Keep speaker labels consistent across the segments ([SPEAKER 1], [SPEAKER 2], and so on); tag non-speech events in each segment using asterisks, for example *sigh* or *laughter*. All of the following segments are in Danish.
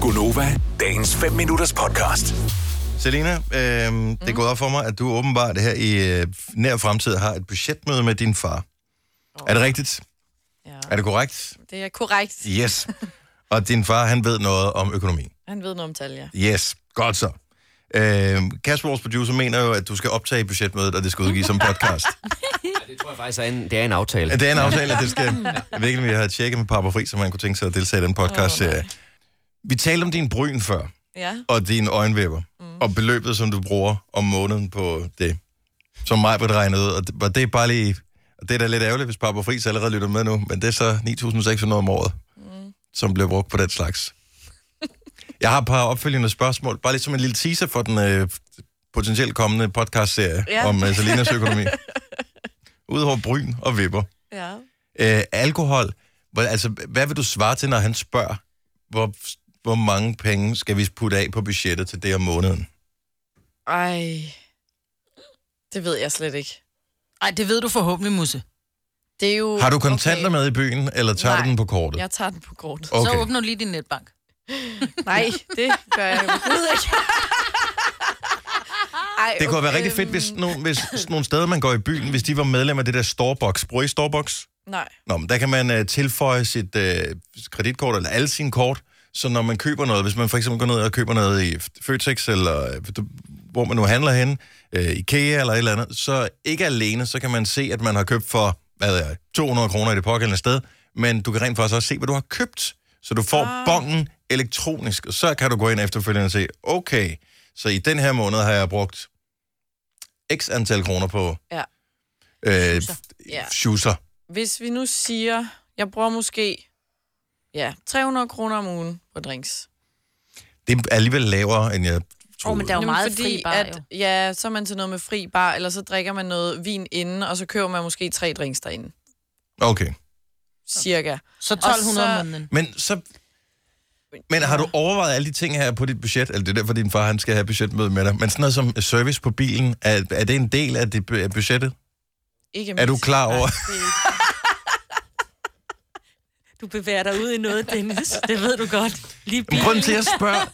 [SPEAKER 1] Gunova, dagens 5 minutters podcast.
[SPEAKER 2] Selina, øh, det er gået op for mig, at du åbenbart her i øh, nær fremtid har et budgetmøde med din far. Oh. Er det rigtigt?
[SPEAKER 3] Ja,
[SPEAKER 2] Er det korrekt?
[SPEAKER 3] det er korrekt.
[SPEAKER 2] Yes. Og din far, han ved noget om økonomi.
[SPEAKER 3] Han ved noget om tal, ja.
[SPEAKER 2] Yes, godt så. Øh, Kasper, vores producer, mener jo, at du skal optage budgetmødet, og det skal udgives som podcast.
[SPEAKER 4] Det tror jeg faktisk er en, det er en aftale.
[SPEAKER 2] Ja, Det er en aftale, at det skal... Jeg ved ikke, om vi har tjekket med Papa Fri, som man kunne tænke sig at deltage i den podcast. Oh, vi talte om din bryn før.
[SPEAKER 3] Ja,
[SPEAKER 2] og dine øjenvipper, mm. og beløbet, som du bruger om måneden på det, som mig blev regnet ud, og det, og det er bare lige, og det er da lidt ærgerligt, hvis Papa Friis allerede lytter med nu, men det er så 9.600 om året, mm. som bliver brugt på den slags. Jeg har et par opfølgende spørgsmål, bare lige som en lille teaser for den øh, potentielt kommende podcastserie ja.
[SPEAKER 3] Ja.
[SPEAKER 2] om øh, Salinas økonomi. Udover bryn og vipper.
[SPEAKER 3] ja.
[SPEAKER 2] Øh, alkohol, hvor, altså, hvad vil du svare til, når han spørger, hvor, hvor mange penge skal vi putte af på budgettet til det om måneden?
[SPEAKER 3] Ej, det ved jeg slet ikke.
[SPEAKER 5] Ej, det ved du forhåbentlig, Musse.
[SPEAKER 3] Det er jo...
[SPEAKER 2] Har du kontanter
[SPEAKER 3] Mm, okay.
[SPEAKER 2] med i byen, eller tager
[SPEAKER 3] Nej.
[SPEAKER 2] du den på kortet?
[SPEAKER 3] Jeg tager den på kort.
[SPEAKER 5] Okay. Så
[SPEAKER 2] Okay.
[SPEAKER 5] åbner du lige din netbank.
[SPEAKER 3] Nej, det gør jeg overhovedet
[SPEAKER 2] *laughs*
[SPEAKER 3] ikke. Ej,
[SPEAKER 2] Det kunne være rigtig
[SPEAKER 3] øhm,
[SPEAKER 2] fedt, hvis nogle, hvis sådan nogle steder, man går i byen, hvis de var medlem af det der Starbucks. Bruger I Starbucks?
[SPEAKER 3] Nej,
[SPEAKER 2] Nå, men der kan man øh, tilføje sit øh, kreditkort, eller alle sine kort, så når man køber noget, hvis man for eksempel går ned og køber noget i Føtex, eller øh, du- hvor man nu handler hen, øh, Ikea eller et eller andet, så ikke alene, så kan man se, at man har købt for, hvad ved jeg, 200 kroner i det pågældende sted, men du kan rent faktisk også se, hvad du har købt. Så du får ah. bongen elektronisk, og så kan du gå ind efterfølgende og se, okay, så i den her måned har jeg brugt x antal kroner på
[SPEAKER 3] ja.
[SPEAKER 2] øh,
[SPEAKER 3] Ja.
[SPEAKER 2] schusser.
[SPEAKER 3] Hvis vi nu siger, jeg bruger måske ja, 300 kroner om ugen på drinks.
[SPEAKER 2] Det er alligevel lavere, end jeg
[SPEAKER 5] Åh,
[SPEAKER 2] troede.
[SPEAKER 5] oh, men der er jo
[SPEAKER 3] Jamen,
[SPEAKER 5] meget fri bar, at... jo.
[SPEAKER 3] Ja, så er man til noget med fri bar, eller så drikker man noget vin inden, og så køber man måske tre drinks derinde.
[SPEAKER 2] Okay.
[SPEAKER 3] Cirka.
[SPEAKER 5] Så 1200
[SPEAKER 3] så-
[SPEAKER 5] om måneden.
[SPEAKER 2] Men så... Men har du overvejet alle de ting her på dit budget? Eller det er derfor, din far han skal have budgetmøde med dig. Men sådan noget som service på bilen, er, er det en del af dit bu- af budgettet?
[SPEAKER 3] Ikke
[SPEAKER 2] Er du
[SPEAKER 3] mindst.
[SPEAKER 2] klar over-
[SPEAKER 3] Nej, det er ikke-
[SPEAKER 6] Du bevæger dig ud i
[SPEAKER 5] *laughs*
[SPEAKER 6] noget, Dennis. Det ved du godt. Lige
[SPEAKER 2] Men
[SPEAKER 6] bilen.
[SPEAKER 2] grunden til, at jeg spørger,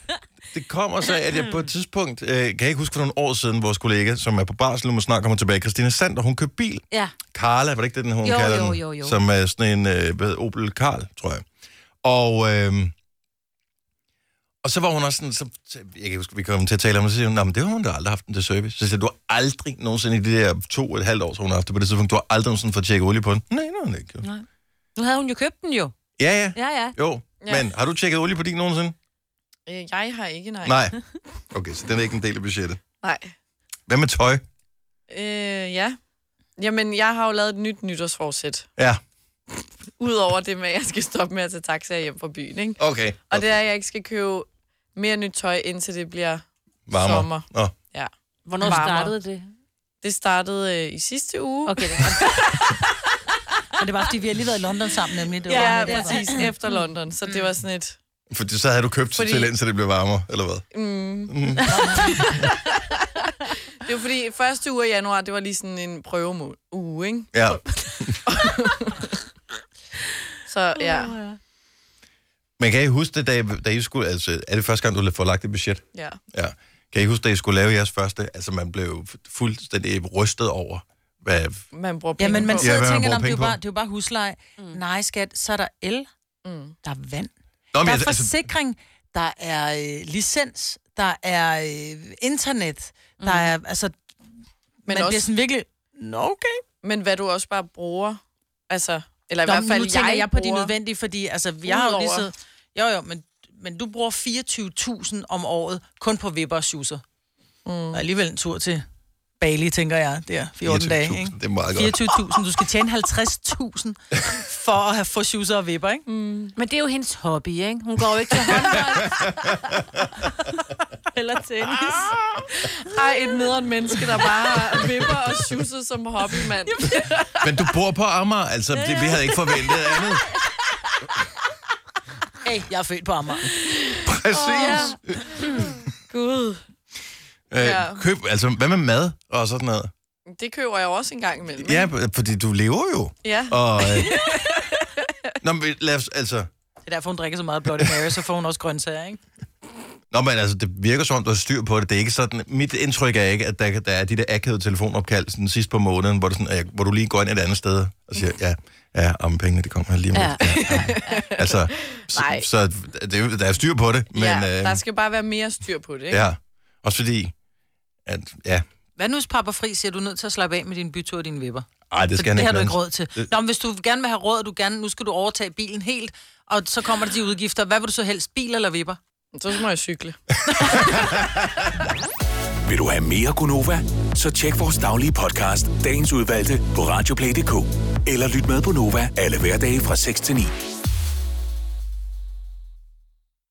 [SPEAKER 2] det kommer så, af, at jeg på et tidspunkt, øh, kan jeg ikke huske for nogle år siden, vores kollega, som er på barsel, nu må snart kommer tilbage, Christina Sander, hun købte bil.
[SPEAKER 6] Ja.
[SPEAKER 2] Carla, var det ikke det, den hun
[SPEAKER 5] Jo,
[SPEAKER 2] kalder
[SPEAKER 5] jo,
[SPEAKER 2] den?
[SPEAKER 5] jo, jo.
[SPEAKER 2] Som er sådan en øh, hvad, hedder, Opel Karl, tror jeg. Og, øh, og så var hun også sådan, så, så- jeg kan ikke huske, vi kom til at tale om det, så siger hun, "Nå, men det har hun da aldrig haft den til service. Så siger jeg, du har aldrig nogensinde i de der to og et halvt år, så hun har haft det på det tidspunkt, du har aldrig nogensinde fået tjekket olie på den. Nej, nej, nej. ikke.
[SPEAKER 5] Nu havde hun jo købt den jo.
[SPEAKER 2] Ja, ja.
[SPEAKER 5] Ja, ja.
[SPEAKER 2] Jo,
[SPEAKER 3] Ja.
[SPEAKER 2] men har du tjekket olie på din nogensinde?
[SPEAKER 3] Øh, Jeg har ikke, nej.
[SPEAKER 2] Nej. Okay, så den er ikke en del af budgettet.
[SPEAKER 3] Nej.
[SPEAKER 2] Hvad med tøj?
[SPEAKER 3] Øh, ja. Jamen, jeg har jo lavet et nyt nytårsforsæt.
[SPEAKER 2] Ja,
[SPEAKER 3] Udover det med, at jeg skal stoppe med at tage taxa hjem fra byen, ikke?
[SPEAKER 2] okay.
[SPEAKER 3] Og det er, at jeg ikke skal købe mere nyt tøj, indtil det bliver...
[SPEAKER 2] Varmere.
[SPEAKER 3] sommer.
[SPEAKER 2] Nå.
[SPEAKER 3] Ja.
[SPEAKER 6] Hvornår
[SPEAKER 3] Varmere.
[SPEAKER 6] startede det?
[SPEAKER 3] Det startede øh, i sidste uge.
[SPEAKER 6] Okay, det er
[SPEAKER 5] *laughs*
[SPEAKER 6] godt.
[SPEAKER 5] Og det var, fordi vi har lige været i London sammen, nemlig. Det var
[SPEAKER 3] Ja,
[SPEAKER 5] det, der var.
[SPEAKER 3] præcis. *laughs* Efter London. Så det var sådan et...
[SPEAKER 2] Fordi så havde du købt Fordi...
[SPEAKER 3] Fordi-
[SPEAKER 2] til ind, så det blev varmere, eller hvad?
[SPEAKER 3] Det var fordi, første uge af januar, det var lige sådan en prøveuge, ikke?
[SPEAKER 2] Ja.
[SPEAKER 3] Så ja.
[SPEAKER 2] Men kan I huske det, da I, da I skulle, altså, er det første gang, du får lagt et budget?
[SPEAKER 3] ja.
[SPEAKER 2] Ja. Kan I huske, da I skulle lave jeres første? Altså, man blev fu- fuldstændig rystet over, hvad...
[SPEAKER 3] Man bruger
[SPEAKER 5] Ja,
[SPEAKER 3] penge
[SPEAKER 5] men man
[SPEAKER 3] på.
[SPEAKER 2] Ja,
[SPEAKER 5] sidder
[SPEAKER 2] hvad
[SPEAKER 5] og
[SPEAKER 2] man
[SPEAKER 5] tænker,
[SPEAKER 2] bruger
[SPEAKER 5] om det er
[SPEAKER 2] penge
[SPEAKER 5] jo
[SPEAKER 2] på."
[SPEAKER 5] bare, det er jo bare husleje. Mm. Nej, skat, så er der el, mm. der er vand,
[SPEAKER 2] Nå,
[SPEAKER 5] der er
[SPEAKER 2] altså, altså,
[SPEAKER 5] forsikring, der er øh, licens, der er øh, internet, der er, altså,
[SPEAKER 3] Men,
[SPEAKER 5] man
[SPEAKER 3] også,
[SPEAKER 5] bliver sådan virkelig, nå okay.
[SPEAKER 3] men hvad du også bare bruger, altså... Eller i
[SPEAKER 5] Nå,
[SPEAKER 3] hvert
[SPEAKER 5] men
[SPEAKER 3] fald,
[SPEAKER 5] nu tænker jeg, jeg på de
[SPEAKER 3] bruger-
[SPEAKER 5] nødvendige, fordi altså, jeg har jo lige
[SPEAKER 3] Udover-
[SPEAKER 5] siddet... Jo, jo, men, men du bruger 24.000 om året kun på vipper og schusser. Mm. Og alligevel en tur til Bali, tænker jeg, der 14 dage,
[SPEAKER 2] 24.000,
[SPEAKER 5] ikke?
[SPEAKER 2] det er meget godt.
[SPEAKER 5] 24.000, du skal tjene 50.000 for at have få schusser og vipper, ikke? Mm.
[SPEAKER 6] Men det er jo hendes hobby, ikke? Hun går jo ikke til håndbold. Eller tennis.
[SPEAKER 3] Ej, et nederen menneske, der bare vipper og schusser som hobbymand.
[SPEAKER 2] Men du bor på Amager, altså, det, vi havde ikke forventet
[SPEAKER 5] *laughs*
[SPEAKER 2] andet.
[SPEAKER 5] Hey, jeg er født på Amager.
[SPEAKER 2] Præcis.
[SPEAKER 3] Gud.
[SPEAKER 2] Oh, ja.
[SPEAKER 3] Ja.
[SPEAKER 2] øh, køb, altså, hvad med mad og sådan noget?
[SPEAKER 3] Det køber jeg jo også en gang imellem.
[SPEAKER 2] Ja,
[SPEAKER 5] Mm.
[SPEAKER 2] fordi du lever jo.
[SPEAKER 3] Ja.
[SPEAKER 2] Og,
[SPEAKER 5] *laughs*
[SPEAKER 2] øh... Nå, men lad os, altså...
[SPEAKER 5] Det er derfor, hun drikker så meget Bloody Mary, så får hun også grøntsager, ikke?
[SPEAKER 2] Nå, men altså, det virker som om, du har styr på det. Det er ikke sådan... Mit indtryk er ikke, at der, der er de der akavede telefonopkald sådan sidst på måneden, hvor, det sådan, øh, hvor du lige går ind et andet sted og siger, ja, ja, om pengene, det kommer lige om lidt. Ja.
[SPEAKER 5] *laughs*
[SPEAKER 2] Ja. Altså, så,
[SPEAKER 3] Nej.
[SPEAKER 2] så det, er jo- der er styr på det, men...
[SPEAKER 3] ja, der
[SPEAKER 2] øh,
[SPEAKER 3] skal bare være mere styr på det, ikke?
[SPEAKER 2] ja. Også fordi, at, ja,
[SPEAKER 5] Hvad nu hvis pappa fri siger, du er nødt til at slappe af med din bytur og dine vipper?
[SPEAKER 2] ej, det
[SPEAKER 5] Så
[SPEAKER 2] skal han
[SPEAKER 5] det
[SPEAKER 2] ikke
[SPEAKER 5] har du
[SPEAKER 2] blande
[SPEAKER 5] ikke
[SPEAKER 2] sig-
[SPEAKER 5] råd til.
[SPEAKER 2] Det-
[SPEAKER 5] Nå, men hvis du gerne vil have råd, og du gerne, nu skal du overtage bilen helt, og så kommer der de udgifter. Hvad vil du så helst, bil eller vipper?
[SPEAKER 3] Så må jeg cykle.
[SPEAKER 1] Vil du have mere Gunova? Så tjek vores daglige podcast, dagens udvalgte, på radioplay.dk. Eller lyt med på Nova alle hverdage fra 6 til 9.